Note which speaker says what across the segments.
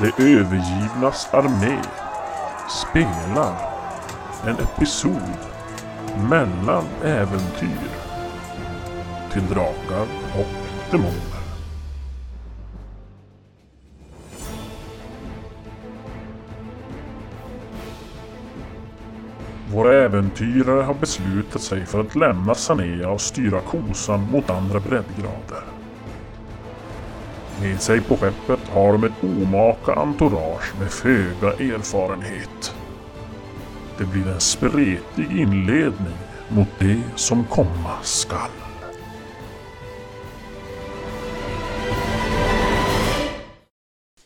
Speaker 1: De övergivnas armé spelar en episod mellan äventyr till drakar och demoner. Våra äventyrare har beslutat sig för att lämna Sanea och styra kosan mot andra breddgrader. Med sig på skeppet har de ett omaka entourage med föga erfarenhet. Det blir en spretig inledning mot det som komma skall.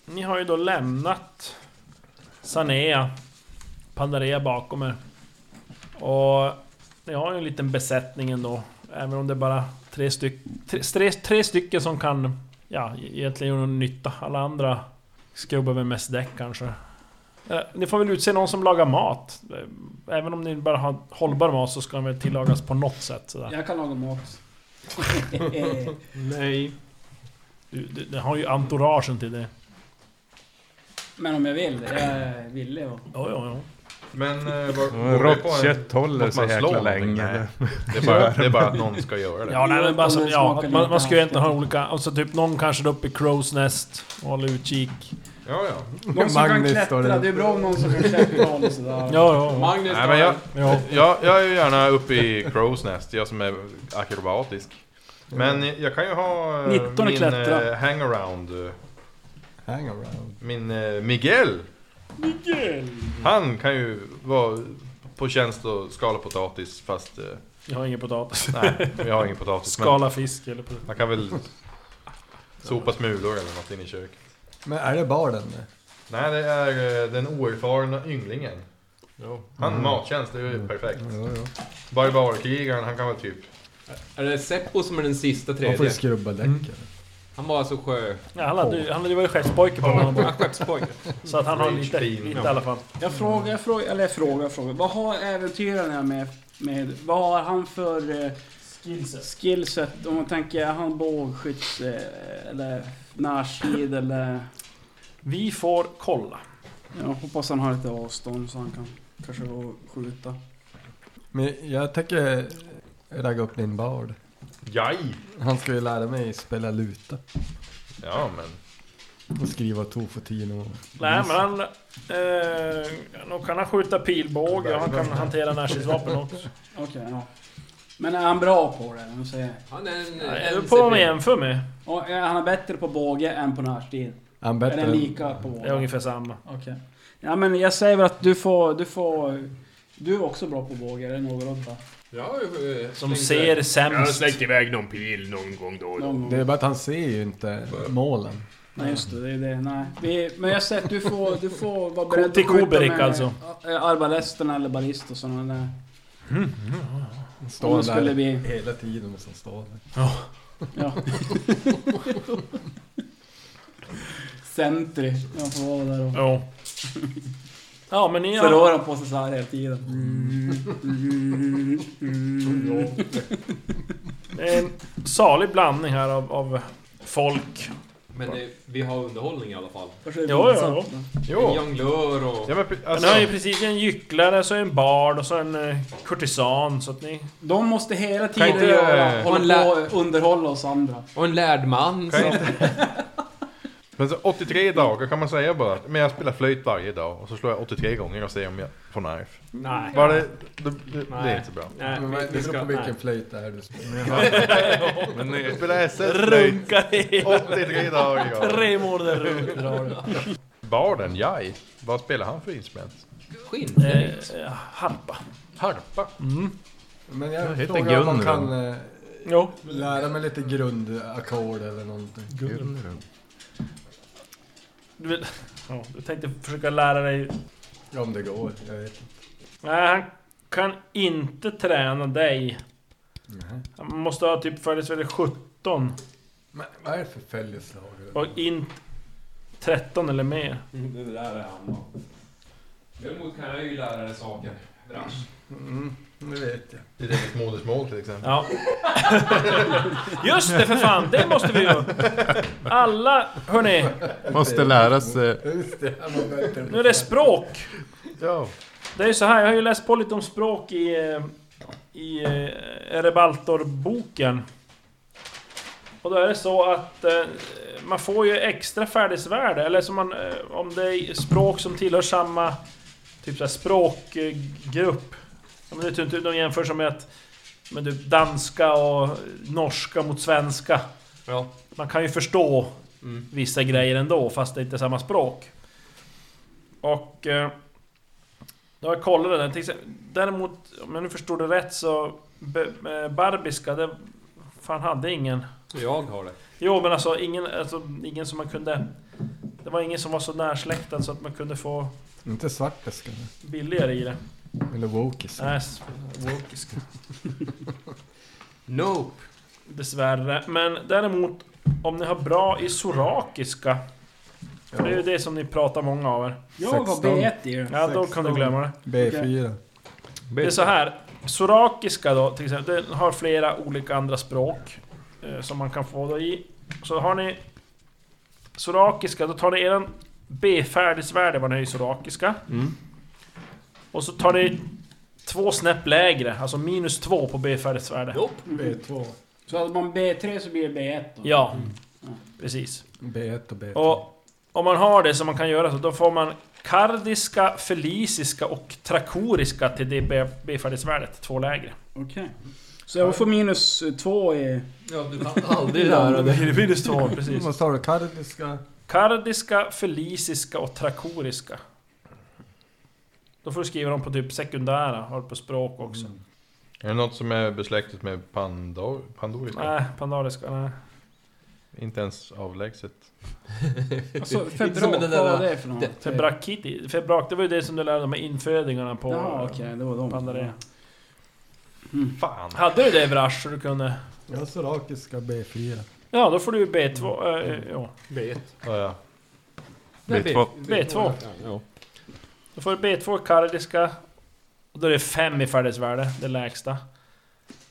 Speaker 2: Ni har ju då lämnat Sanea, Pandarea bakom er. Och ni har ju en liten besättning ändå. Även om det är bara tre, styck, tre, tre, tre stycken som kan ja, egentligen göra någon nytta. Alla andra skrubbar väl mest däck kanske. Eh, Ni får väl utse någon som lagar mat. Eh, Även om ni bara har hållbar mat så ska den väl tillagas på något sätt. Sådär.
Speaker 3: Jag kan laga mat. Eh,
Speaker 2: Nej. Du, du, du har ju entouragen till det.
Speaker 3: Men om jag vill det. Jag vill det. va.
Speaker 2: Jo, jo, jo.
Speaker 4: Men eh, vad- går det på en-
Speaker 5: Rått kött håller
Speaker 4: måste
Speaker 5: så
Speaker 4: man slå
Speaker 5: jäkla
Speaker 4: någonting?
Speaker 5: länge.
Speaker 4: Nej. Det är, bara, det är bara att någon ska göra det.
Speaker 2: Ja, nej, men bara så,
Speaker 3: men
Speaker 2: ja,
Speaker 3: smakar
Speaker 2: att man,
Speaker 3: lite
Speaker 2: man ska ju
Speaker 3: allt.
Speaker 2: egentligen ha olika... Alltså typ någon kanske är uppe i Crows Nest och håller utkik.
Speaker 4: Ja, ja.
Speaker 3: Någon som kan
Speaker 5: Magnus står
Speaker 3: klättra.
Speaker 5: där.
Speaker 3: Det är bra om någon som kan klättra och sådär.
Speaker 2: Ja, ja,
Speaker 6: Magnus
Speaker 4: Nej, men jag,
Speaker 2: ja.
Speaker 4: jag, jag är ju gärna uppe i Crows Nest, jag som är akrobatisk. Men jag kan ju ha eh,
Speaker 3: 19
Speaker 4: min
Speaker 3: klättra.
Speaker 4: eh, hangaround, eh,
Speaker 5: Hang around.
Speaker 4: min eh, Miguel. Han kan ju vara på tjänst och skala potatis fast... eh,
Speaker 2: Jag har ingen potatis.
Speaker 4: Nej, jag har ingen potatis. men
Speaker 2: Skala fisk eller... på-
Speaker 4: Han kan väl sopa smulor eller något in i köket.
Speaker 5: Men är det barden?
Speaker 4: Nej, det är eh, den oerfarna ynglingen. Han
Speaker 2: Mm.
Speaker 4: mattjänst, det är ju perfekt.
Speaker 5: Jo, jo.
Speaker 4: Barbarkrigaren, han kan väl typ...
Speaker 6: Är det Seppo som är den sista
Speaker 5: Man får ju
Speaker 6: tredje?
Speaker 5: skrubba däcken.
Speaker 4: Mm.
Speaker 6: Han var alltså sjö...
Speaker 2: Ja, han hade ju- han hade ju varit skeppspojke på honom.
Speaker 6: Han skeppspojke.
Speaker 2: Så att han har lite,
Speaker 4: Rage
Speaker 2: lite i alla fall.
Speaker 3: Jag frågar, jag frågar, eller jag frågar, jag frågar. Vad har äventyraren här med, med vad har han för eh, skillset? Om man tänker, är han bågskytt eh, eller närstrid eller?
Speaker 2: Vi får kolla.
Speaker 3: Jag hoppas han har lite avstånd så han kan kanske gå och skjuta.
Speaker 5: Men jag tänker ragga upp din bard.
Speaker 4: Jaj!
Speaker 5: Han ska ju lära mig spela luta
Speaker 4: Ja, men...
Speaker 5: och skriva tofotino. och-
Speaker 2: Nej, men han... Eh, nog kan han skjuta pilbåge och han kan hantera närstridsvapen också.
Speaker 3: Okej, ja. Men är han bra på det? Om säger.
Speaker 6: Han är en...
Speaker 2: Nej, Det
Speaker 6: en
Speaker 2: beror på vad man jämför med.
Speaker 3: Och är han bättre på båge än på närstrid?
Speaker 5: Han
Speaker 3: Är
Speaker 5: bättre
Speaker 3: den
Speaker 5: än...
Speaker 3: lika på båge?
Speaker 2: Det är ungefär samma.
Speaker 3: Okej. Ja men jag säger väl att du får, du får... Du är också bra på båge, eller någorlunda?
Speaker 6: Ja, eh,
Speaker 2: Som
Speaker 6: tänkte-
Speaker 2: ser
Speaker 7: Jag har
Speaker 2: sämst.
Speaker 7: släckt iväg någon pil någon gång då och då.
Speaker 3: Någon gång.
Speaker 5: Det är bara att han ser ju inte målen.
Speaker 3: Nej just det, det är det. Nej. Vi, men jag säger att du får, du får vara beredd
Speaker 2: Till Koberik, alltså.
Speaker 3: eh, arbalesterna eller ballist och sådana där. Om
Speaker 5: Står
Speaker 3: det skulle
Speaker 5: där
Speaker 3: bli-
Speaker 5: hela tiden och så står där.
Speaker 3: Ja. Sentry, man får vara där och
Speaker 2: Ja. Ja, Mm. men ni har...
Speaker 3: förhöra på sig såhär hela tiden.
Speaker 2: Det är en salig blandning här av, av folk.
Speaker 6: Men eh, vi har underhållning i alla fall.
Speaker 3: Kanske det är
Speaker 2: Ja, ja,
Speaker 3: pinsamt, men-
Speaker 6: En
Speaker 4: Jo!
Speaker 6: jonglör och...
Speaker 4: Ja, men pre-
Speaker 2: Men
Speaker 4: alltså,
Speaker 2: ni har ju precis en gycklare, så en bard och så en eh, kurtisan. Så att ni...
Speaker 3: De måste hela
Speaker 4: Kan
Speaker 3: tiden
Speaker 4: inte-
Speaker 3: göra,
Speaker 6: Man
Speaker 3: hålla på
Speaker 6: lär-
Speaker 3: och underhålla oss andra.
Speaker 6: Och en lärd man.
Speaker 4: kan jag inte... Men så 83 dagar kan man säga bara. Men jag spelar flöjt varje dag och så slår jag 83 gånger och ser om jag får nerf.
Speaker 2: Nej.
Speaker 4: Bara det, det, det, det är
Speaker 2: Nej.
Speaker 4: inte så bra.
Speaker 2: Nej,
Speaker 5: Men
Speaker 2: vi,
Speaker 5: det
Speaker 2: vi
Speaker 5: beror
Speaker 2: ska...
Speaker 5: på vilken
Speaker 2: Nej.
Speaker 5: flöjt det är du spelar.
Speaker 4: Men jag spelar SS flöjt
Speaker 2: Runka i
Speaker 4: 83 dagar. ja.
Speaker 2: tre månader runt.
Speaker 4: Barden, jaj. Vad spelar han för instrument?
Speaker 6: Skinn.
Speaker 2: Eh, harpa.
Speaker 4: Harpa.
Speaker 5: Men jag,
Speaker 7: Jag heter
Speaker 5: frågar om man
Speaker 7: Gunnar.
Speaker 5: kan eh,
Speaker 2: Jo.
Speaker 5: lära mig lite grundackord eller någonting.
Speaker 2: Du, vill, ja, du tänkte försöka lära dig...
Speaker 5: Ja, Om det går, jag vet inte.
Speaker 2: Nej, han kan inte träna dig. Han måste ha typ födelsedag 17
Speaker 5: Men vad är det för följeslagare?
Speaker 2: och in 13 eller mer.
Speaker 3: Mm.
Speaker 6: Det där är han Däremot kan jag ju lära dig saker. Brash.
Speaker 5: Mm, det vet jag.
Speaker 4: Ditt eget modersmål till exempel.
Speaker 2: Ja. Just det för fan, det måste vi ju. Alla, hörni.
Speaker 8: Måste lära sig.
Speaker 2: Nu är det språk.
Speaker 4: Ja.
Speaker 2: Det är ju så här, jag har ju läst på lite om språk i... eh, I eh, Erebaltor-boken. Och då är det så att eh, man får ju extra färdighetsvärde, eller som man... eh, Om det är språk som tillhör samma... Typ såhär språkgrupp. Ja, men det är typ, de jämför som med att... Men typ danska och norska mot svenska.
Speaker 6: Ja.
Speaker 2: Man kan ju förstå
Speaker 6: Mm.
Speaker 2: vissa grejer ändå, fast det inte är samma språk. Och... Eh, jag kollade den. Till exempel- Däremot, om jag nu förstod det rätt så... be- eh, Barbiska, det... Fan hade ingen.
Speaker 6: Jag har det.
Speaker 2: Jo men alltså ingen, alltså ingen som man kunde... Det var ingen som var så närsläktad så att man kunde få
Speaker 5: Inte svartbeska
Speaker 2: billigare i det.
Speaker 5: eller wokis.
Speaker 2: Nej, s- wokisk.
Speaker 6: Nope.
Speaker 2: Dessvärre. Men däremot, om ni har bra i sorakiska. För det är ju det som ni pratar många av er.
Speaker 3: Jag har
Speaker 5: 16.
Speaker 3: B1 i den.
Speaker 2: Ja, då kan du glömma det.
Speaker 5: B4.
Speaker 2: Det är så här. Sorakiska då till exempel, den har flera olika andra språk eh, som man kan få då i. Så har ni Sorakiska, då tar ni eran B-färdighetsvärde, vad ni har i Sorakiska. Och så tar ni två snäpp lägre, alltså minus två på B-färdighetsvärde.
Speaker 6: Jo.
Speaker 5: B2.
Speaker 3: Så hade man B3 så blir det B1 då?
Speaker 2: Ja, Mm. precis.
Speaker 5: B1 och B2.
Speaker 2: Och om man har det som man kan göra så, då får man kardiska, felisiska och trakoriska till det B-färdighetsvärdet, två lägre.
Speaker 3: Okej. Så jag får minus eh, två i...
Speaker 6: Ja, du kan aldrig lära dig.
Speaker 2: Minus två, precis.
Speaker 5: Mm, Vad sa du? Kardiska?
Speaker 2: Kardiska, felisiska och trakoriska. Då får du skriva dem på typ sekundära, har du på språk också.
Speaker 3: Mm,
Speaker 4: Är det något som är besläktat med pandor, pandoriska?
Speaker 2: Nej, pandariska, nej.
Speaker 4: Inte ens avlägset.
Speaker 3: Alltså,
Speaker 6: Inte som
Speaker 3: febrak,
Speaker 6: den
Speaker 3: vad
Speaker 6: där-
Speaker 3: var det för något?
Speaker 2: Febrakiti, febrak, det var ju det som du lärde dig med infödingarna på...
Speaker 3: Ja, okej, det var de. Eh,
Speaker 2: Pandarea.
Speaker 4: Fan!
Speaker 2: Hade du det Vrash så du kunde...
Speaker 5: Jag har sorakiska B4.
Speaker 2: Ja, då får du ju B2...
Speaker 3: Mm.
Speaker 2: eh, eh, ja.
Speaker 6: B1.
Speaker 4: Ja, ja.
Speaker 6: Nej,
Speaker 8: B2.
Speaker 2: B2.
Speaker 6: Ja, ja.
Speaker 2: Då får du B2 i kardiska. Och då är det 5 i färdighetsvärde, det lägsta.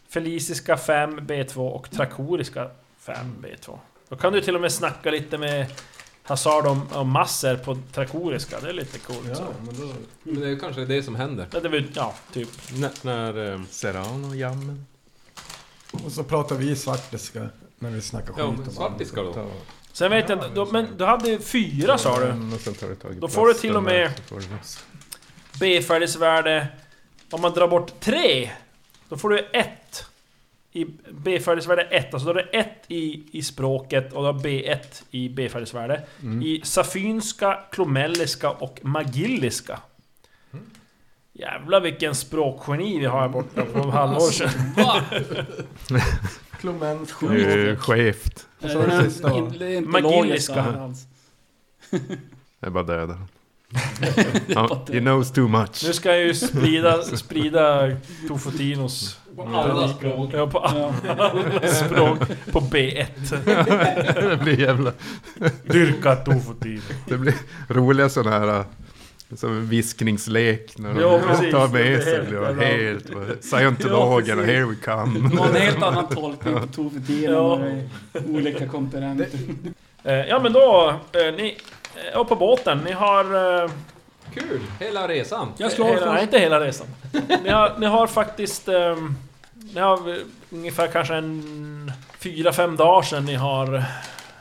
Speaker 2: Felisiska 5 B2 och trakoriska 5 B2. Då kan du till och med snacka lite med Hazard om, om massor på trakoriska, det är lite coolt.
Speaker 5: Ja,
Speaker 2: Så.
Speaker 5: men då...
Speaker 6: Men det är kanske det som händer.
Speaker 2: Ja, det var, ju- ja, typ.
Speaker 6: När... när eh,
Speaker 4: Serrano, jammen.
Speaker 5: Och så pratar vi svartiska när vi snackar skit
Speaker 6: Ja,
Speaker 5: om
Speaker 6: men svartiska då.
Speaker 2: Sen vet jag inte, då, men du hade ju fyra sa du?
Speaker 5: Mm,
Speaker 2: Då får du till och med- B-färdighetsvärde. Om man drar bort 3, då får du 1. I B-färdighetsvärde 1, alltså då är det 1 i, i språket och då har B1 i B-färdighetsvärde.
Speaker 6: Mm.
Speaker 2: I safynska, klomelliska och magilliska.
Speaker 6: Mm.
Speaker 2: Jävlar vilken språkgeni vi har här borta på halvår sedan.
Speaker 5: Klomens
Speaker 8: Eh, Skevt.
Speaker 5: Vad sa du sist då?
Speaker 3: Det är inte
Speaker 2: Magilliska.
Speaker 3: logiskt alls.
Speaker 8: Det är bara döda den. Ja, He knows too much.
Speaker 2: Nu ska jag ju sprida, sprida Tofotinos...
Speaker 6: På alla språk.
Speaker 2: Ja, på
Speaker 3: Ja.
Speaker 2: alla språk. På B1.
Speaker 8: Det blir jävla...
Speaker 2: Dyrka Tofotino.
Speaker 8: Det blir roliga sådana här... äh, Som en viskningslek när de
Speaker 2: Ja, precis.
Speaker 8: tar med
Speaker 2: Det är
Speaker 8: sig.
Speaker 2: helt
Speaker 8: Det var
Speaker 2: jävla-
Speaker 8: helt... Scientologen och
Speaker 3: precis.
Speaker 8: here we
Speaker 3: Det
Speaker 8: come.
Speaker 3: var en helt annan tolkning på Tofutiden
Speaker 2: Ja.
Speaker 3: ja. olika komponenter.
Speaker 2: Eh, Ja men då, eh, ni... eh, Och på båten, ni har... eh,
Speaker 6: Kul! Hela resan.
Speaker 3: Jag slår
Speaker 2: hela, nej,
Speaker 3: för...
Speaker 2: inte hela resan. ni, har, ni har faktiskt... ehm, ni har eh, ungefär kanske en... Fyra, fem dagar sedan ni har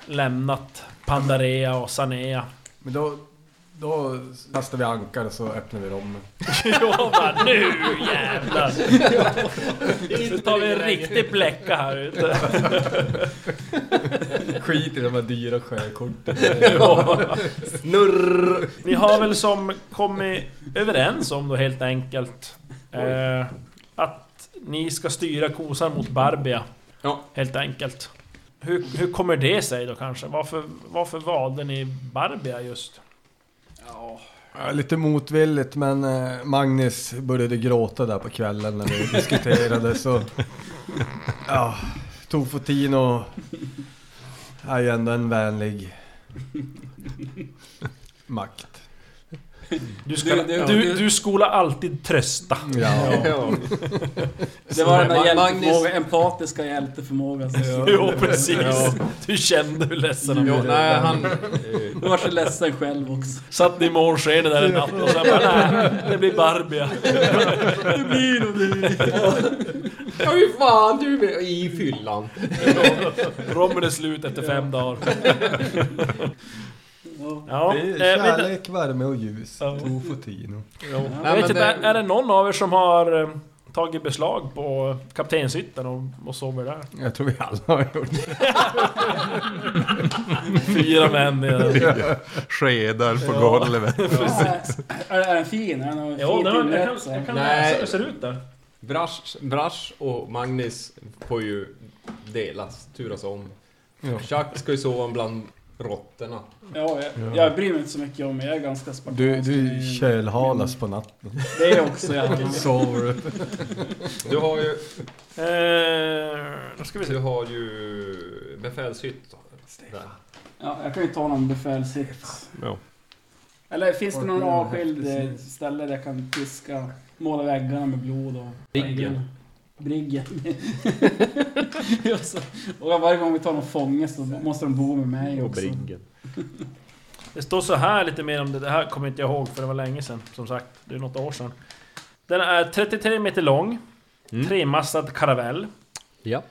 Speaker 2: lämnat Pandarea och Sanea.
Speaker 5: Men då... Då kastar vi ankar och så öppnar vi dem.
Speaker 2: Jag bara, nu jävlar! Nu tar vi en riktig bläcka här ute.
Speaker 5: Skit i de här dyra sjökorten.
Speaker 2: Ni har väl som kommit överens om då helt enkelt eh, Att ni ska styra kosan mot Barbia
Speaker 6: Ja.
Speaker 2: Helt enkelt hur, hur kommer det sig då kanske? Varför, varför valde ni Barbia just?
Speaker 5: Ja, lite motvilligt men eh, Magnus började gråta där på kvällen när vi diskuterade så... Ja, Tofotino är ju ändå en vänlig makt.
Speaker 2: Du, ska,
Speaker 3: Du-
Speaker 2: du,
Speaker 3: du-
Speaker 2: du,
Speaker 3: du-
Speaker 2: du, skola alltid trösta.
Speaker 5: Ja.
Speaker 4: Ja.
Speaker 3: Det var den där
Speaker 6: Ma-
Speaker 3: hjälteförmågan,
Speaker 6: Magnus-
Speaker 3: empatiska hjälteförmågan. som-
Speaker 2: Jo, precis. Du kände hur ledsen han
Speaker 6: Jo,
Speaker 2: blev.
Speaker 6: nej, han...
Speaker 3: Du var så ledsen själv också.
Speaker 2: Satt ni i månskenet där en natt och sen bara, nej, det blir Barbia.
Speaker 3: Det blir nog det.
Speaker 6: Ja, hur fan du är i fyllan.
Speaker 2: Rommen är slut efter fem dagar. Ja,
Speaker 5: Det är
Speaker 2: eh, men-
Speaker 5: kärlek, värme och ljus.
Speaker 2: Ja.
Speaker 5: Tofotino.
Speaker 2: Jo.
Speaker 6: men
Speaker 2: Jag vet inte,
Speaker 6: det-
Speaker 2: är det någon av er som har eh, tagit beslag på kaptenshytten och, och sover där?
Speaker 5: Jag tror vi alla har gjort det.
Speaker 2: Fyra män i den.
Speaker 8: Skedar på golvet.
Speaker 3: Är, är den fin? Är den någon
Speaker 2: Jo,
Speaker 3: fin
Speaker 2: den har- jag
Speaker 3: tillrätt,
Speaker 2: kan,
Speaker 3: så?
Speaker 2: jag kan
Speaker 6: Nej.
Speaker 2: läsa hur det ser ut där.
Speaker 6: Brash, Brash och Magnus får ju delas, turas om.
Speaker 5: Ja.
Speaker 6: Chuck ska ju sova bland råttorna.
Speaker 3: Ja, jag, jag bryr mig inte så mycket om det. Jag är ganska
Speaker 5: Du,
Speaker 3: spartansk.
Speaker 5: du kölhalas på natten.
Speaker 3: Det är också jag.
Speaker 5: Sover du?
Speaker 6: Du har ju...
Speaker 2: Eh, då ska vi
Speaker 6: Du
Speaker 2: se.
Speaker 6: har ju befälshytt. Där.
Speaker 3: Ja, jag kan ju ta någon befälshytt.
Speaker 6: Ja.
Speaker 3: Eller finns det någon avskild eh, ställe där jag kan piska, måla väggarna med blod och...
Speaker 6: Briggen.
Speaker 3: Briggen. och, så, och varje gång vi tar någon fånge så måste de bo med mig också.
Speaker 2: Det står så här lite mer om det. Det här kommer inte jag ihåg för det var länge sedan. Som sagt, det är något år sedan. Den är 33 meter lång. Mm. Tremastad karavell.
Speaker 6: Ja.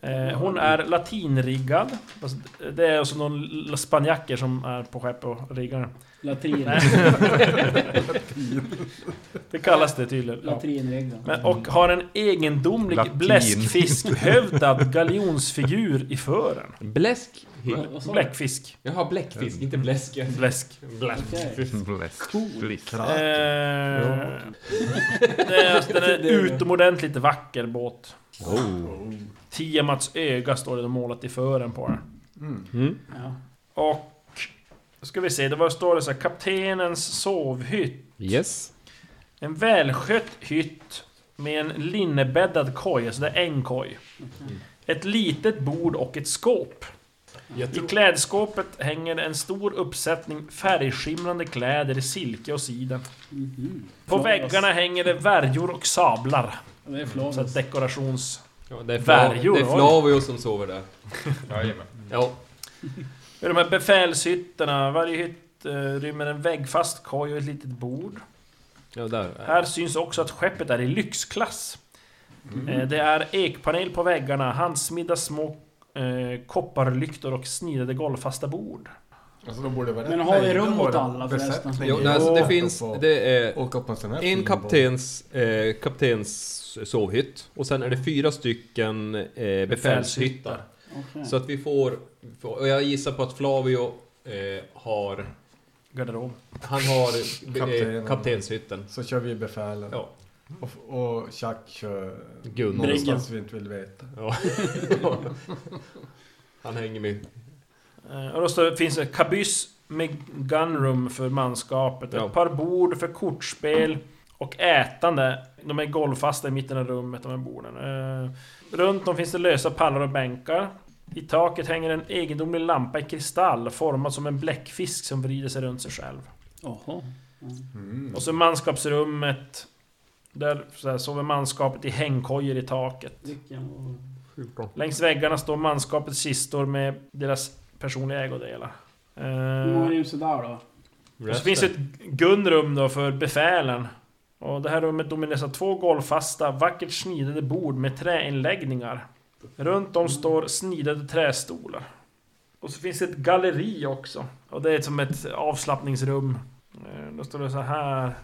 Speaker 2: Eh, hon är latinriggad. Fast Det är alltså någon l- spanjacker som är på skepp och riggar den.
Speaker 3: Latrin.
Speaker 2: Det kallas det tydligen. Ja.
Speaker 3: Latrinreglerna.
Speaker 2: Men, och har en egendomlig
Speaker 8: Latin.
Speaker 2: bläskfiskhövdad galjonsfigur i fören.
Speaker 6: Bläsk.
Speaker 3: Vad- vad sa du?
Speaker 2: Bläckfisk.
Speaker 6: Jag har bläckfisk, inte bläsk.
Speaker 2: Bläsk.
Speaker 6: Bläsk.
Speaker 3: Okej.
Speaker 8: Bläsk. Blisk.
Speaker 2: Eh, det är, alltså, den är Oh. en utomordentligt vacker båt. Tiamats öga står det målat i fören på den.
Speaker 3: Ja.
Speaker 2: Och... Då ska vi se, det var, står det så här, Kaptenens sovhytt.
Speaker 6: Yes.
Speaker 2: En välskött hytt med en linnebäddad koj, alltså det är en koj. Ett litet bord och ett skåp. I klädskåpet hänger en stor uppsättning färgskimrande kläder i silke och siden. På
Speaker 3: Flawless.
Speaker 2: väggarna hänger det värjor och sablar.
Speaker 3: Det
Speaker 2: Så
Speaker 3: är
Speaker 2: att
Speaker 3: flawless.
Speaker 2: dekorations...
Speaker 6: Ja, det är
Speaker 2: Värjor,
Speaker 6: Flavio, det är
Speaker 2: oj.
Speaker 6: Flavio som sover där.
Speaker 4: Jajamän.
Speaker 6: Ja.
Speaker 2: I de här befälshytterna, varje hytt eh, rymmer en väggfast koj och ett litet bord.
Speaker 6: Ja, där.
Speaker 2: Här syns också att skeppet är i lyxklass. Eh, Det är ekpanel på väggarna, handsmidda små eh, kopparlyktor och snidade golvfasta bord.
Speaker 5: Alltså de borde vara
Speaker 3: Men
Speaker 5: rätt
Speaker 3: har vi
Speaker 5: nöjda
Speaker 3: rum
Speaker 5: med
Speaker 3: åt
Speaker 5: vår
Speaker 3: alla förresten?
Speaker 5: besättning.
Speaker 6: Jo, nej, alltså, det finns...
Speaker 5: Och få
Speaker 6: Det är
Speaker 5: Åka på en sån här fin
Speaker 6: en
Speaker 5: båt.
Speaker 6: kaptens, eh, kaptens sovhytt. Och sen är det fyra stycken eh, befälshyttar.
Speaker 3: Okej.
Speaker 6: Så att vi får... får- Och jag gissar på att Flavio eh, har...
Speaker 2: Garderob.
Speaker 6: Han har
Speaker 5: Kaptenen.
Speaker 6: eh, kaptenshytten.
Speaker 5: Så kör vi befälen.
Speaker 6: Ja.
Speaker 5: Och, och Chuck kör
Speaker 6: Gunnar.
Speaker 5: någonstans vi inte vill veta.
Speaker 6: Ja. han hänger med.
Speaker 2: Eh, Och då står, finns det kabyss med gunroom för manskapet,
Speaker 6: Ja.
Speaker 2: ett par bord för kortspel och ätande. De är golvfasta i mitten av rummet, de här borden. Eh, Runt dem finns det lösa pallar och bänkar. I taket hänger en egendomlig lampa i kristall formad som en bläckfisk som vrider sig runt sig själv.
Speaker 3: Jaha.
Speaker 5: Mm.
Speaker 2: Och så manskapsrummet. Där så här, sover manskapet i hängkojor i taket.
Speaker 3: Vilken och...
Speaker 2: Längs väggarna står manskapets kistor med deras personliga ägodelar.
Speaker 3: Hur många
Speaker 2: Eh,
Speaker 3: ljus är där då?
Speaker 2: och så finns det ett gunrum då för befälen. Och det här rummet domineras av två golvfasta, vackert snidade bord med träinläggningar. Runt om står snidade trästolar. Och så finns det ett galleri också. Och det är som ett avslappningsrum. Eh, Då står det så här.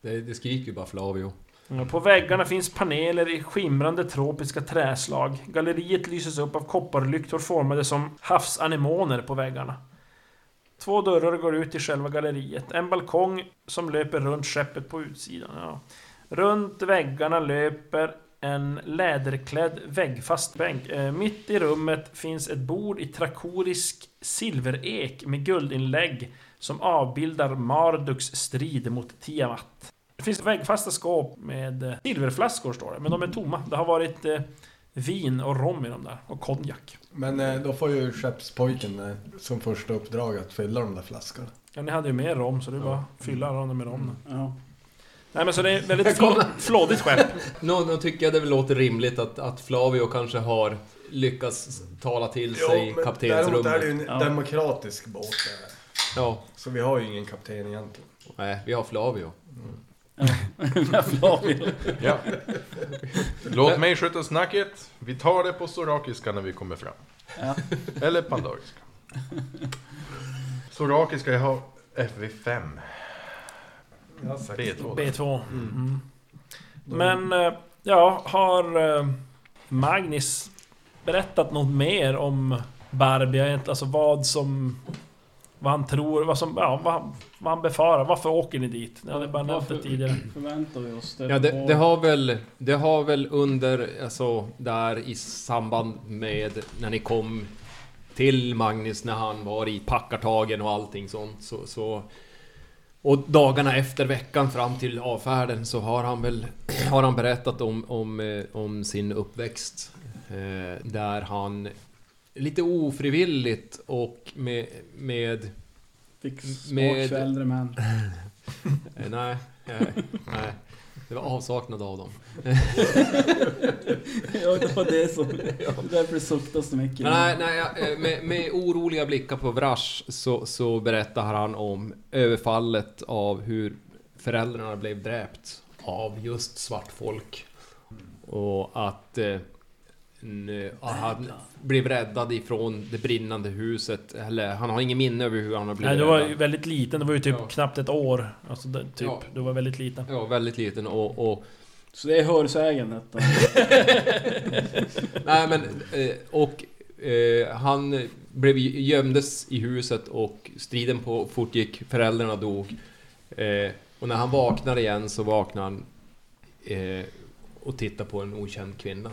Speaker 6: Det, det skriker ju bara Flavio.
Speaker 2: Ja, Mm. På väggarna finns paneler i skimrande tropiska träslag. Galleriet lyses upp av kopparlyktor formade som havsanemoner på väggarna. Två dörrar går ut till själva galleriet. En balkong som löper runt skeppet på utsidan. Ja. Runt väggarna löper en läderklädd väggfast bänk. Eh, mitt i rummet finns ett bord i trakorisk silverek med guldinlägg som avbildar Marduks strid mot Tiamat. Det finns väggfasta skåp med eh, silverflaskor står det, men de är tomma. Det har varit eh, vin och rom i dem där, och konjak.
Speaker 5: Men eh, då får ju skeppspojken eh, som första uppdrag att fylla de där flaskorna.
Speaker 2: Ja, ni hade ju mer rom så det är bara att fylla raden med rom. då.
Speaker 3: Ja.
Speaker 2: Nej men så det är väldigt flå- flådigt skepp.
Speaker 9: Nå, nu tycker jag det väl låter rimligt att, att Flavio kanske har lyckats tala till sig
Speaker 5: däremot är det ju
Speaker 9: kaptensrummet.
Speaker 5: en
Speaker 3: Ja.
Speaker 5: demokratisk båt. det här.
Speaker 9: Ja,
Speaker 5: Så vi har ju ingen kapten egentligen.
Speaker 9: nej, vi har Flavio.
Speaker 3: Flavio.
Speaker 4: Ja. Låt mig sköta snacket. Vi tar det på sorakiska när vi kommer fram.
Speaker 3: Ja.
Speaker 4: Eller pandariska. Sorakiska, jag har FV5. B2. där.
Speaker 2: B2. Mm. Men, eh, ja, har eh, Magnus berättat något mer om Barbia? Egent- Alltså vad som... Vad han tror, vad som... Ja, vad, han- vad han befarar. Varför åker ni dit? Ni hade bara nämnt det
Speaker 3: Varför-
Speaker 2: tidigare.
Speaker 3: Förväntar vi oss det?
Speaker 9: Ja, det,
Speaker 3: Och-
Speaker 9: det, har väl, det har väl under, alltså där i samband med när ni kom till Magnus när han var i packartagen och allting sånt så, så och dagarna efter veckan fram till avfärden så har han väl har han berättat om, om, eh, om sin uppväxt eh, där han lite ofrivilligt och med, med eh,
Speaker 3: Fick
Speaker 9: med-
Speaker 3: svårt för äldre män.
Speaker 9: Eh, Nej, eh, nej. Det var avsaknad av dem.
Speaker 3: ja, det var det som... Det därför det suktas så mycket.
Speaker 9: Men nej, nej, jag- eh, med, med oroliga blickar på Vrash så, så berättar han om överfallet av hur föräldrarna blev dräpt av just svartfolk. Och att eh, n- att han blev räddad ifrån det brinnande huset. Eller han har ingen minne över hur han har blivit
Speaker 2: Nej, du var
Speaker 9: räddad.
Speaker 2: ju väldigt liten. Du var ju typ
Speaker 9: Ja.
Speaker 2: knappt ett år. Alltså, det, typ.
Speaker 9: Ja.
Speaker 2: Du var väldigt liten.
Speaker 9: Ja, väldigt liten och, och
Speaker 3: Så det är hörsägen detta.
Speaker 9: Nej men, eh, och eh, han blev, gömdes i huset och striden på, fortgick, föräldrarna dog. Eh, och när han vaknar igen så vaknar han eh, och tittar på en okänd kvinna.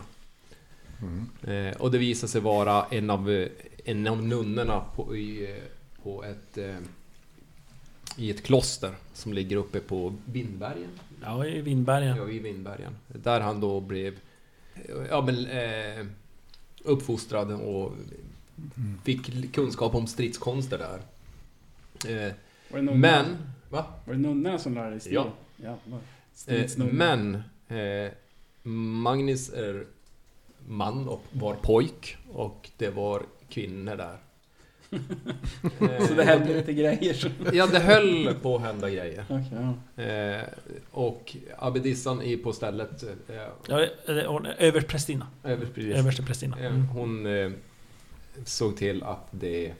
Speaker 9: Eh, och det visar sig vara en av, eh, en av nunnorna på, i, eh, på ett, eh, i ett kloster som ligger uppe på Vindbergen.
Speaker 2: Ja, i Vindbergen.
Speaker 9: Ja, i Vindbergen. Där han då blev ja, men, eh, uppfostrad och
Speaker 3: Mm.
Speaker 9: fick kunskap om stridskonster där. Eh,
Speaker 3: Var det nunnorna-
Speaker 9: men... Va?
Speaker 3: Var det nunnorna som lärde dig stil?
Speaker 9: Ja.
Speaker 3: Jävlar.
Speaker 9: Eh,
Speaker 3: Stridsnunnor.
Speaker 9: men... Eh, Magnus är man och var pojk och det var kvinnor där. Eh,
Speaker 3: Så det hände lite grejer. som-
Speaker 9: Ja, det höll på att hända grejer.
Speaker 3: Okej, ja.
Speaker 9: Eh, och abbedissan är på stället... Eh,
Speaker 2: Ja, det- det- hon är överprästinna.
Speaker 9: överpris-
Speaker 2: Översteprästinna.
Speaker 9: Eh,
Speaker 2: Mm.
Speaker 9: Hon eh, såg till att det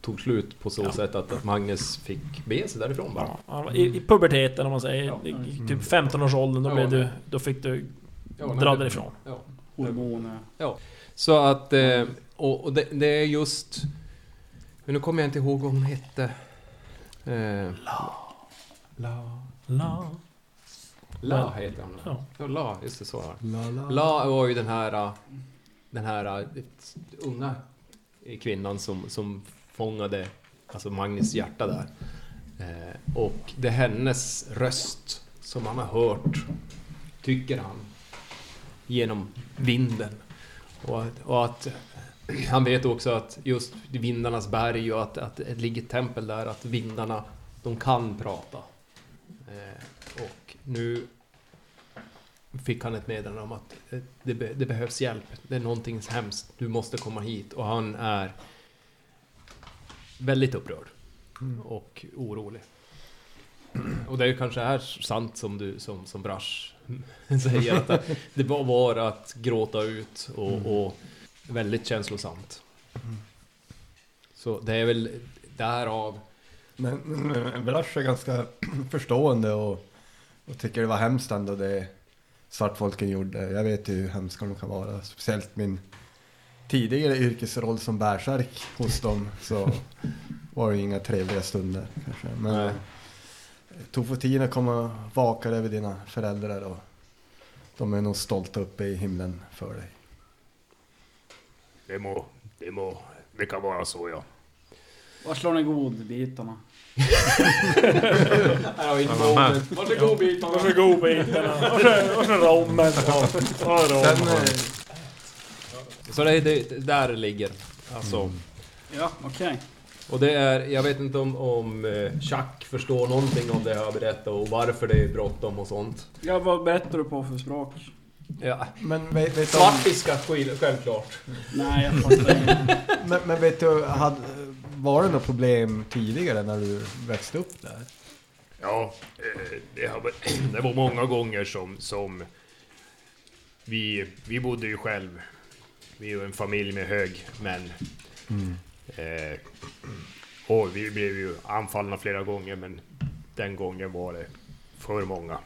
Speaker 9: tog slut på så
Speaker 2: Ja.
Speaker 9: sätt att, att Magnus fick bege sig därifrån bara.
Speaker 2: Ja, han var I, I puberteten om man säger.
Speaker 9: Ja.
Speaker 2: I, i typ 15-årsåldern, då,
Speaker 9: Ja.
Speaker 2: blev du, då fick du
Speaker 9: Ja, nej,
Speaker 2: dra
Speaker 9: det-
Speaker 2: därifrån.
Speaker 9: Ja.
Speaker 3: Hormoner.
Speaker 9: Så att, eh, och, och det, det är just... Men nu kommer jag inte ihåg vad hon hette. Eh, la. La.
Speaker 2: La.
Speaker 9: La heter hon.
Speaker 2: Ja.
Speaker 9: Ja, La, just det, så var det.
Speaker 5: La, la.
Speaker 9: La var ju den här, äh, den här äh, unga kvinnan som, som fångade alltså Magnus hjärta där. Eh, och det är hennes röst som han har hört, tycker han, genom vinden. Och, att- och att han vet också att just vindarnas berg och att, att det ligger ett tempel där, att vindarna, de kan prata. Eh, och nu fick han ett meddelande om att eh, det, be, det behövs hjälp. Det är någonting hemskt. Du måste komma hit. Och han är väldigt upprörd och orolig. Och det kanske är sant som du som, som Brash säger att det- det var bara att gråta ut och, och väldigt känslosamt. Så det är väl därav
Speaker 5: Men, men Brash är ganska förstående och, och tycker det var hemskt ändå det svartfolken gjorde. Jag vet ju hur hemska de kan vara, speciellt min tidigare yrkesroll som bärsärk hos dem så var det ju inga trevliga stunder kanske. Men
Speaker 9: Nej.
Speaker 5: eh, Tofotina kommer och vakar över dina föräldrar och de är nog stolta uppe i himlen för dig.
Speaker 7: Det må, det må, det kan vara så ja.
Speaker 3: Var slår ni godbitarna?
Speaker 9: Varsågod Birgit!
Speaker 2: Varsågod bitarna. Varsågod rommen.
Speaker 5: Sen, eh,
Speaker 9: Så det, det, där ligger alltså
Speaker 3: Ja, okej.
Speaker 9: Och det är, jag vet inte om, om eh, Chuck förstår någonting av det jag berättar och varför det är bråttom och sånt.
Speaker 3: Ja, vad berättar du på för språk?
Speaker 9: Ja.
Speaker 5: Men vet, vet du om,
Speaker 9: Svartiska, skil- självklart.
Speaker 3: Nej, jag fattar inte.
Speaker 5: men, men vet du, hade, var det något problem tidigare när du växte upp där?
Speaker 7: Ja, eh, det, har, varit- det var många gånger som, som vi, vi bodde ju själv. Vi är ju en familj med hög män. Eh, och vi blev ju anfallna flera gånger, men den gången var det för många.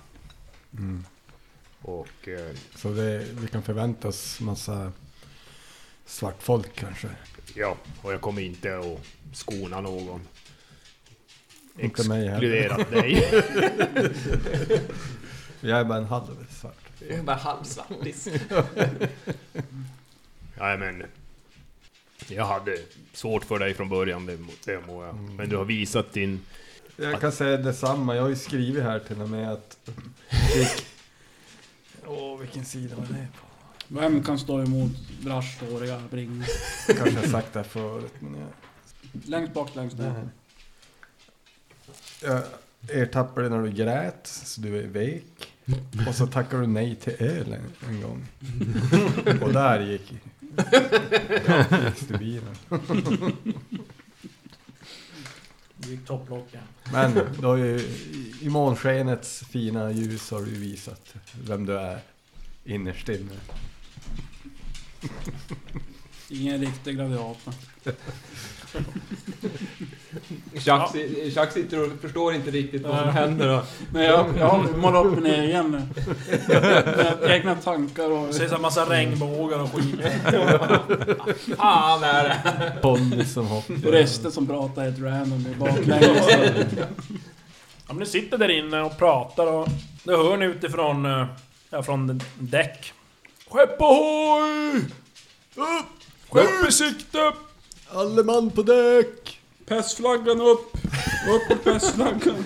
Speaker 7: Och eh,
Speaker 5: Så det, vi kan förvänta oss massa svartfolk kanske?
Speaker 7: ja, och jag kommer inte att skona någon.
Speaker 5: Inte mig heller.
Speaker 7: Exkluderat dig.
Speaker 5: Jag är bara en halv svart.
Speaker 9: Jag är bara halvsvartis.
Speaker 7: Nej men. Jag hade svårt för dig från början, det, må- det må jag.
Speaker 9: Mm.
Speaker 7: Men du har visat din...
Speaker 5: Jag kan säga detsamma, jag har ju skrivit här till och med att... Åh, vilken sida var det på?
Speaker 3: Vem kan stå emot braschhåriga bringar?
Speaker 5: Jag kanske har sagt det här förut, men jag...
Speaker 3: Längst bak, längst ner.
Speaker 5: Mm. Jag ertappade när du grät, så du är vek. Och så tackade du nej till öl en, en gång. Och där gick... Stubilen.
Speaker 2: Det gick topplocket.
Speaker 5: Men du har ju, i- i månskenets fina ljus har du visat vem du är innerst inne.
Speaker 3: Ingen riktig gladiator.
Speaker 9: Chuck, si- Chuck sitter och förstår inte riktigt vad som
Speaker 3: Nej.
Speaker 9: händer. Och,
Speaker 3: Nej, jag, jag målar upp min egen nu. Mina Egna tankar och...
Speaker 2: Precis en massa regnbågar och skit.
Speaker 9: Fan är det!
Speaker 5: Ponny som hoppar.
Speaker 3: Röster som pratar helt random i baklänges.
Speaker 2: Ja, men ni sitter där inne och pratar och det hör ni utifrån... eh, Ja, från däck. Skepp ohoj! Upp! Skepp i sikte!
Speaker 5: Alle man på däck!
Speaker 3: Pestflaggan upp! Upp med pestflaggan!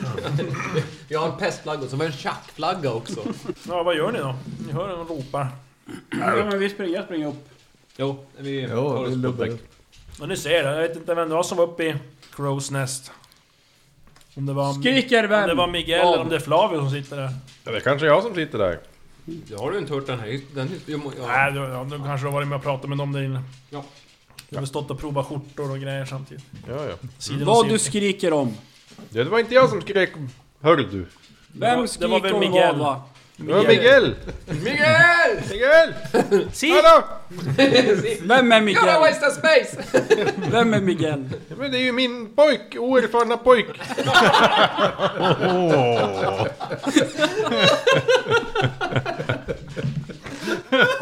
Speaker 9: Jag har en pestflagga och så var det en Chuck-flagga också.
Speaker 2: Ja, vad gör ni då? Ni hör dem ropa.
Speaker 3: Ja, men vi springer, jag springer upp.
Speaker 9: Jo, vi tar
Speaker 5: Ja,
Speaker 9: oss
Speaker 5: vi
Speaker 9: på
Speaker 5: lubbar
Speaker 9: däck.
Speaker 5: upp.
Speaker 2: Men ni ser det, jag vet inte vem det var som var uppe i Crows Nest. Om det var...
Speaker 3: Skriker
Speaker 2: Om
Speaker 3: vän!
Speaker 2: det var Miguel eller om det är Flavio som sitter där.
Speaker 4: Ja, det är kanske jag som sitter där.
Speaker 9: Ja, har du inte hört den här? Den, jag, må- jag,
Speaker 2: Nej, du, ja, du kanske har varit med och pratat med dem där inne.
Speaker 9: Ja.
Speaker 2: Du har väl stått och provat skjortor och grejer samtidigt.
Speaker 4: Ja, ja.
Speaker 2: Sidan
Speaker 3: Vad
Speaker 2: om sidan.
Speaker 3: du skriker om.
Speaker 4: Ja, Det var inte jag som skrek. Hörde du?
Speaker 2: Det var-
Speaker 3: Vem
Speaker 2: det var väl
Speaker 3: skriker om
Speaker 2: Miguel.
Speaker 3: vad va?
Speaker 4: Det var Miguel!
Speaker 9: Miguel!
Speaker 4: Miguel!
Speaker 2: Si!
Speaker 4: Hallå!
Speaker 3: Vem är
Speaker 9: You're a
Speaker 3: Miguel?
Speaker 9: waste of space!
Speaker 3: Vem är Miguel?
Speaker 4: Ja, Men det är ju min pojk! Oerfarna pojk!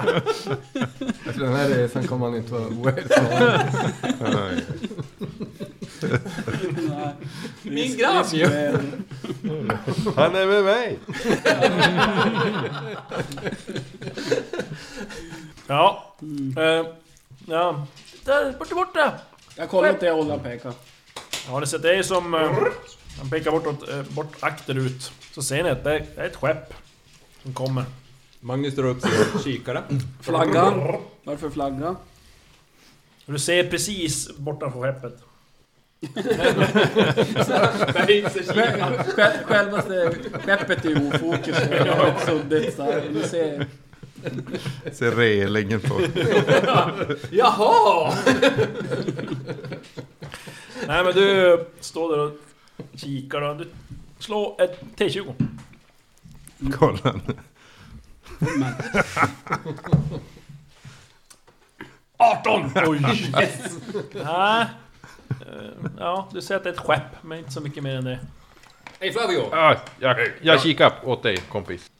Speaker 5: Efter den här resan kommer han inte vara oerfaren.
Speaker 3: Nej,
Speaker 9: Min grabb ju!
Speaker 4: Han är med mig!
Speaker 2: Ja.
Speaker 3: Mm.
Speaker 2: Eh, ja. Där, borta, borta!
Speaker 3: Jag kollar inte, jag håller peka.
Speaker 2: Ja, ni ser, det är som... Eh, han pekar bortåt, eh, bort akterut. Så ser ni att det är det är ett skepp. Som kommer.
Speaker 9: Magnus drar upp sin kikare.
Speaker 3: Flagga. Varför flagga?
Speaker 2: Och du ser precis borta från skeppet.
Speaker 3: Själ- Självaste skeppet är ju ofokus. Det är helt suddigt så här. Du ser.
Speaker 8: Ser relingen på.
Speaker 9: Jaha!
Speaker 2: Nej men du står där och kikar och du slår ett T20.
Speaker 8: Kolla.
Speaker 3: Men,
Speaker 2: 18! Oj! Yes. Nej. Eh, Ja, du ser att det är ett skepp, men inte så mycket mer än det.
Speaker 9: Hej Flavio!
Speaker 4: Ah, jag, jag kikar åt dig kompis.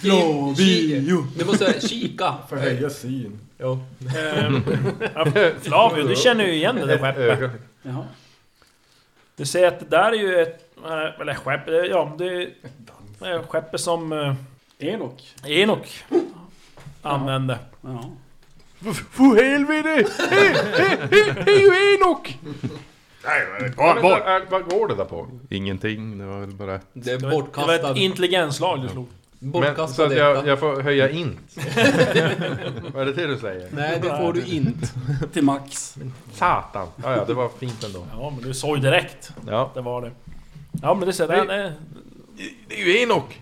Speaker 9: Flavio! Du måste kika.
Speaker 5: För höja syn.
Speaker 9: Jo.
Speaker 2: Ehm, ja, Flavio, du känner ju igen det där skeppet.
Speaker 4: Öga.
Speaker 3: jaha.
Speaker 2: Du ser att det där är ju ett... eh, Eller skepp, eh, ja det är... eh, Skeppet som eh,
Speaker 3: Elok.
Speaker 2: Enok använde.
Speaker 3: Ja.
Speaker 4: Få helvete! Hej ju Enok!
Speaker 7: Nej,
Speaker 4: Vad
Speaker 7: bort, bort!
Speaker 4: vad går det där på?
Speaker 8: Ingenting, det var väl bara...
Speaker 9: Det är
Speaker 2: Det var ett
Speaker 9: bortkastad.
Speaker 2: intelligenslag du slog.
Speaker 4: Men, så
Speaker 9: Bortkastad
Speaker 4: att jag,
Speaker 9: etta.
Speaker 4: jag får höja int. Vad är det till du säger?
Speaker 9: Nej, det får du inte.
Speaker 3: Till max.
Speaker 4: Satan! Ja, ja, det var fint ändå.
Speaker 2: Ja men du såg ju direkt.
Speaker 4: Ja.
Speaker 2: Det var det. Ja men det ser
Speaker 4: Vi-
Speaker 2: jag. Nej,
Speaker 4: Det är ju Enok!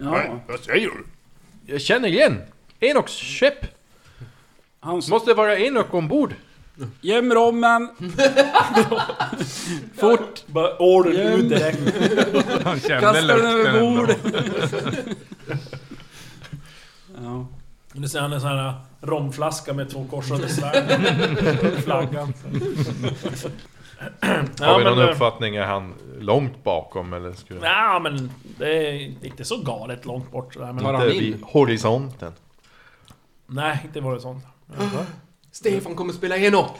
Speaker 3: Ja,
Speaker 7: Vad säger du?
Speaker 4: Jag känner igen! Enoks skepp!
Speaker 3: han s-
Speaker 4: Måste vara Enok ombord!
Speaker 3: göm rommen. Fort.
Speaker 2: bara order ut direkt.
Speaker 8: Han kände
Speaker 3: Kasta den
Speaker 8: lukten
Speaker 3: över
Speaker 8: ändå.
Speaker 3: bord. ja.
Speaker 2: Nu ser han en sån här romflaska med två korsade svärd. Flaggan.
Speaker 4: Har vi
Speaker 2: men,
Speaker 4: någon
Speaker 2: eh,
Speaker 4: uppfattning? Är han långt bakom eller? Skulle...
Speaker 2: Ja men det är inte så galet långt bort sådär. Men,
Speaker 9: Har
Speaker 4: Inte
Speaker 9: han
Speaker 4: vid
Speaker 9: in?
Speaker 4: horisonten.
Speaker 2: Nej, inte var det sånt.
Speaker 9: Stefan kommer spela Enoch!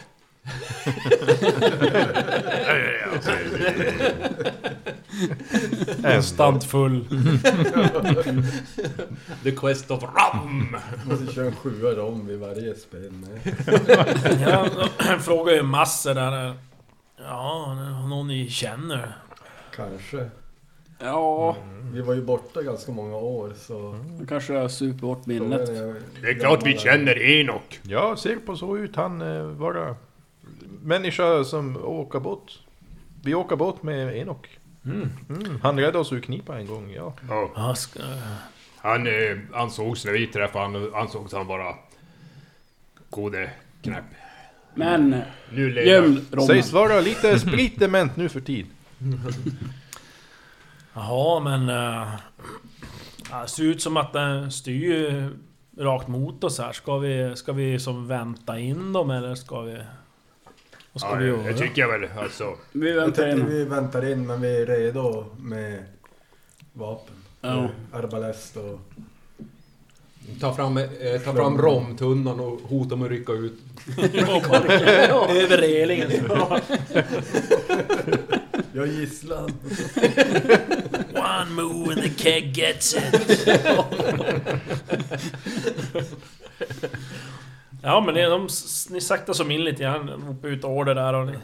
Speaker 4: Ändå.
Speaker 2: Stantfull.
Speaker 9: The Quest of Ram!
Speaker 5: Måste köra en sjua rom vid varje spel. Nej.
Speaker 2: Jag frågar ju massor där. eh, Ja, någon ni känner?
Speaker 5: Kanske.
Speaker 3: Ja,
Speaker 5: Vi var ju borta ganska många år så...
Speaker 3: då kanske jag super bort minnet.
Speaker 7: Det är klart vi känner Enok.
Speaker 4: Ja, ser på så ut han eh, vara människa som åker båt. Vi åker båt med Enok. Mm, han räddade oss ur knipa en gång, ja.
Speaker 7: Ja.
Speaker 2: Ja, ska, eh,
Speaker 7: Han eh, ansågs när vi träffade han ansågs han vara gode knäpp.
Speaker 3: Men eh,
Speaker 7: Nu lever
Speaker 3: göm rommen.
Speaker 4: Sägs vara lite spritdement nu för tid.
Speaker 2: jaha, men... eh, ja, Det ser ut som att den styr ju rakt mot oss här. Ska vi, ska vi som vänta in dem eller ska vi... Vad ska
Speaker 7: Ja,
Speaker 2: vi
Speaker 7: jag,
Speaker 2: göra?
Speaker 7: jag tycker jag väl alltså.
Speaker 3: Vi
Speaker 5: Jag
Speaker 3: väntar
Speaker 5: tänkte
Speaker 3: in.
Speaker 5: vi väntar in men vi är redo med vapen.
Speaker 3: Ja.
Speaker 5: Arbalest och...
Speaker 9: Ta fram, eh, ta fram romtunnan och hota med att rycka ut.
Speaker 2: Över relingen.
Speaker 5: Jag gisslan.
Speaker 2: One move and the keg gets it. ja men det, de, s- ni saktar som in lite grann, ropar ut order där och ni,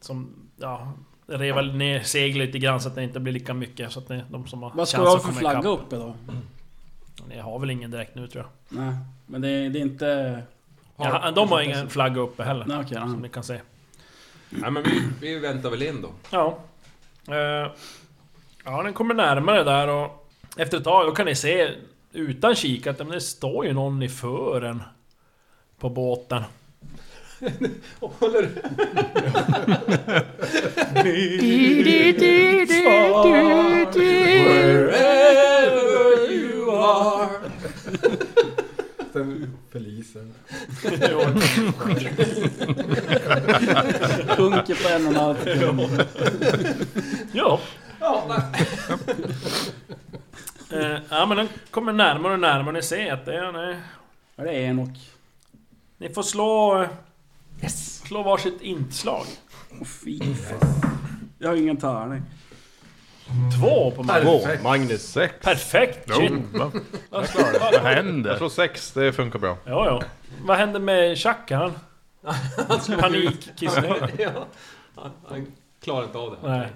Speaker 2: Som, ja... Revar ner seglet lite grann så att det inte blir lika mycket så att ni, de som har
Speaker 3: Vad ska
Speaker 2: chans
Speaker 3: vi ha
Speaker 2: att
Speaker 3: för
Speaker 2: komma
Speaker 3: flagga
Speaker 2: ikapp.
Speaker 3: uppe då?
Speaker 2: Ni har väl ingen direkt nu tror jag.
Speaker 3: Nej, men det är, det är inte...
Speaker 2: Ja, de har ingen flagga uppe heller.
Speaker 3: Nej, okej.
Speaker 2: Som
Speaker 3: ja.
Speaker 2: ni kan se.
Speaker 9: Nej men vi, vi väntar väl in då.
Speaker 2: Ja. Eh, ja, den kommer närmare där och efter ett tag då kan ni se utan kikare att det står ju någon i fören på båten.
Speaker 9: Håller Wherever you are.
Speaker 5: Sen polisen.
Speaker 3: Sjunker på en och en halv sekund.
Speaker 2: Ja. Eh, ja men den kommer närmare och närmare. Ni ser att det är... Nej.
Speaker 3: Ja, Det är Enok.
Speaker 2: Ni får slå... eh, Slå varsitt inslag.
Speaker 3: Åh fy fan. Jag har ingen tärning.
Speaker 2: Två på mig.
Speaker 4: Två, Magnus sex.
Speaker 2: Perfekt! Shit.
Speaker 8: Va?
Speaker 2: Jag slår det.
Speaker 8: Vad
Speaker 4: Jag
Speaker 8: händer?
Speaker 4: tror sex, det funkar bra.
Speaker 2: Ja, ja. Vad hände med Chuck? Han? Panikkissnödig.
Speaker 9: Ja. Han- Han klarar inte av det.
Speaker 2: Nej.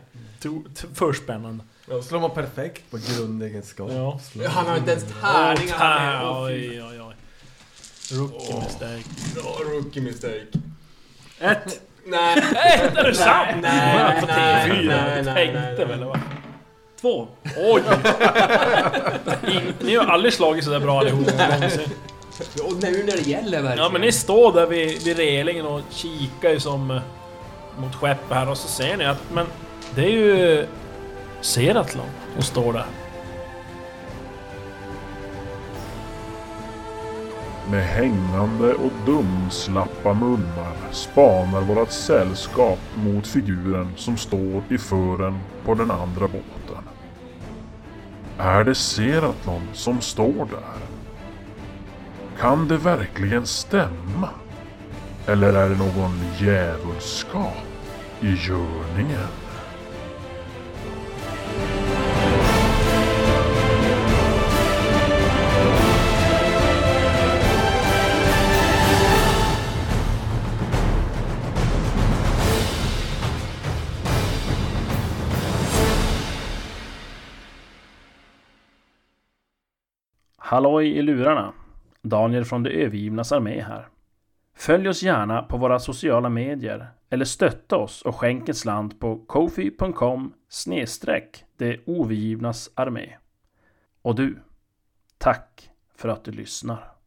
Speaker 2: To, to, för spännande.
Speaker 5: Då slår man perfekt på grundegenskap.
Speaker 2: Ja.
Speaker 5: Slår-
Speaker 9: Han har inte ens tärningar. han är-
Speaker 2: Ah,
Speaker 9: Åh, fy.
Speaker 2: Oj, oj, oj. Rookie mistake.
Speaker 9: Ja, Rookie mistake.
Speaker 3: Ett.
Speaker 9: Nej,
Speaker 2: Ett, är det sant?
Speaker 9: nej,
Speaker 2: På
Speaker 9: nej,
Speaker 2: TV4.
Speaker 9: nej, nej, nej,
Speaker 2: Tänkte
Speaker 9: nej.
Speaker 2: väl, va?
Speaker 3: Två.
Speaker 2: Oj! Ing- Ni har aldrig slagit sådär bra allihop någonsin.
Speaker 9: och nu när det gäller verkligen.
Speaker 2: Ja men ni står där vid, vid relingen och kikar ju som eh, mot skeppet här och så ser ni att men det är ju Seratlon som står där.
Speaker 1: Med hängande och dumslappa munnar spanar vårt sällskap mot figuren som står i fören på den andra båten. Är det Seratlon som står där? Kan det verkligen stämma? Eller är det någon djävulskap i görningen?
Speaker 10: Halloj i lurarna! Daniel från Det övergivnas armé här. Följ oss gärna på våra sociala medier eller stötta oss och skänk en slant på kofi.com snedstreck det overgivnas armé. Och du, tack för att du lyssnar.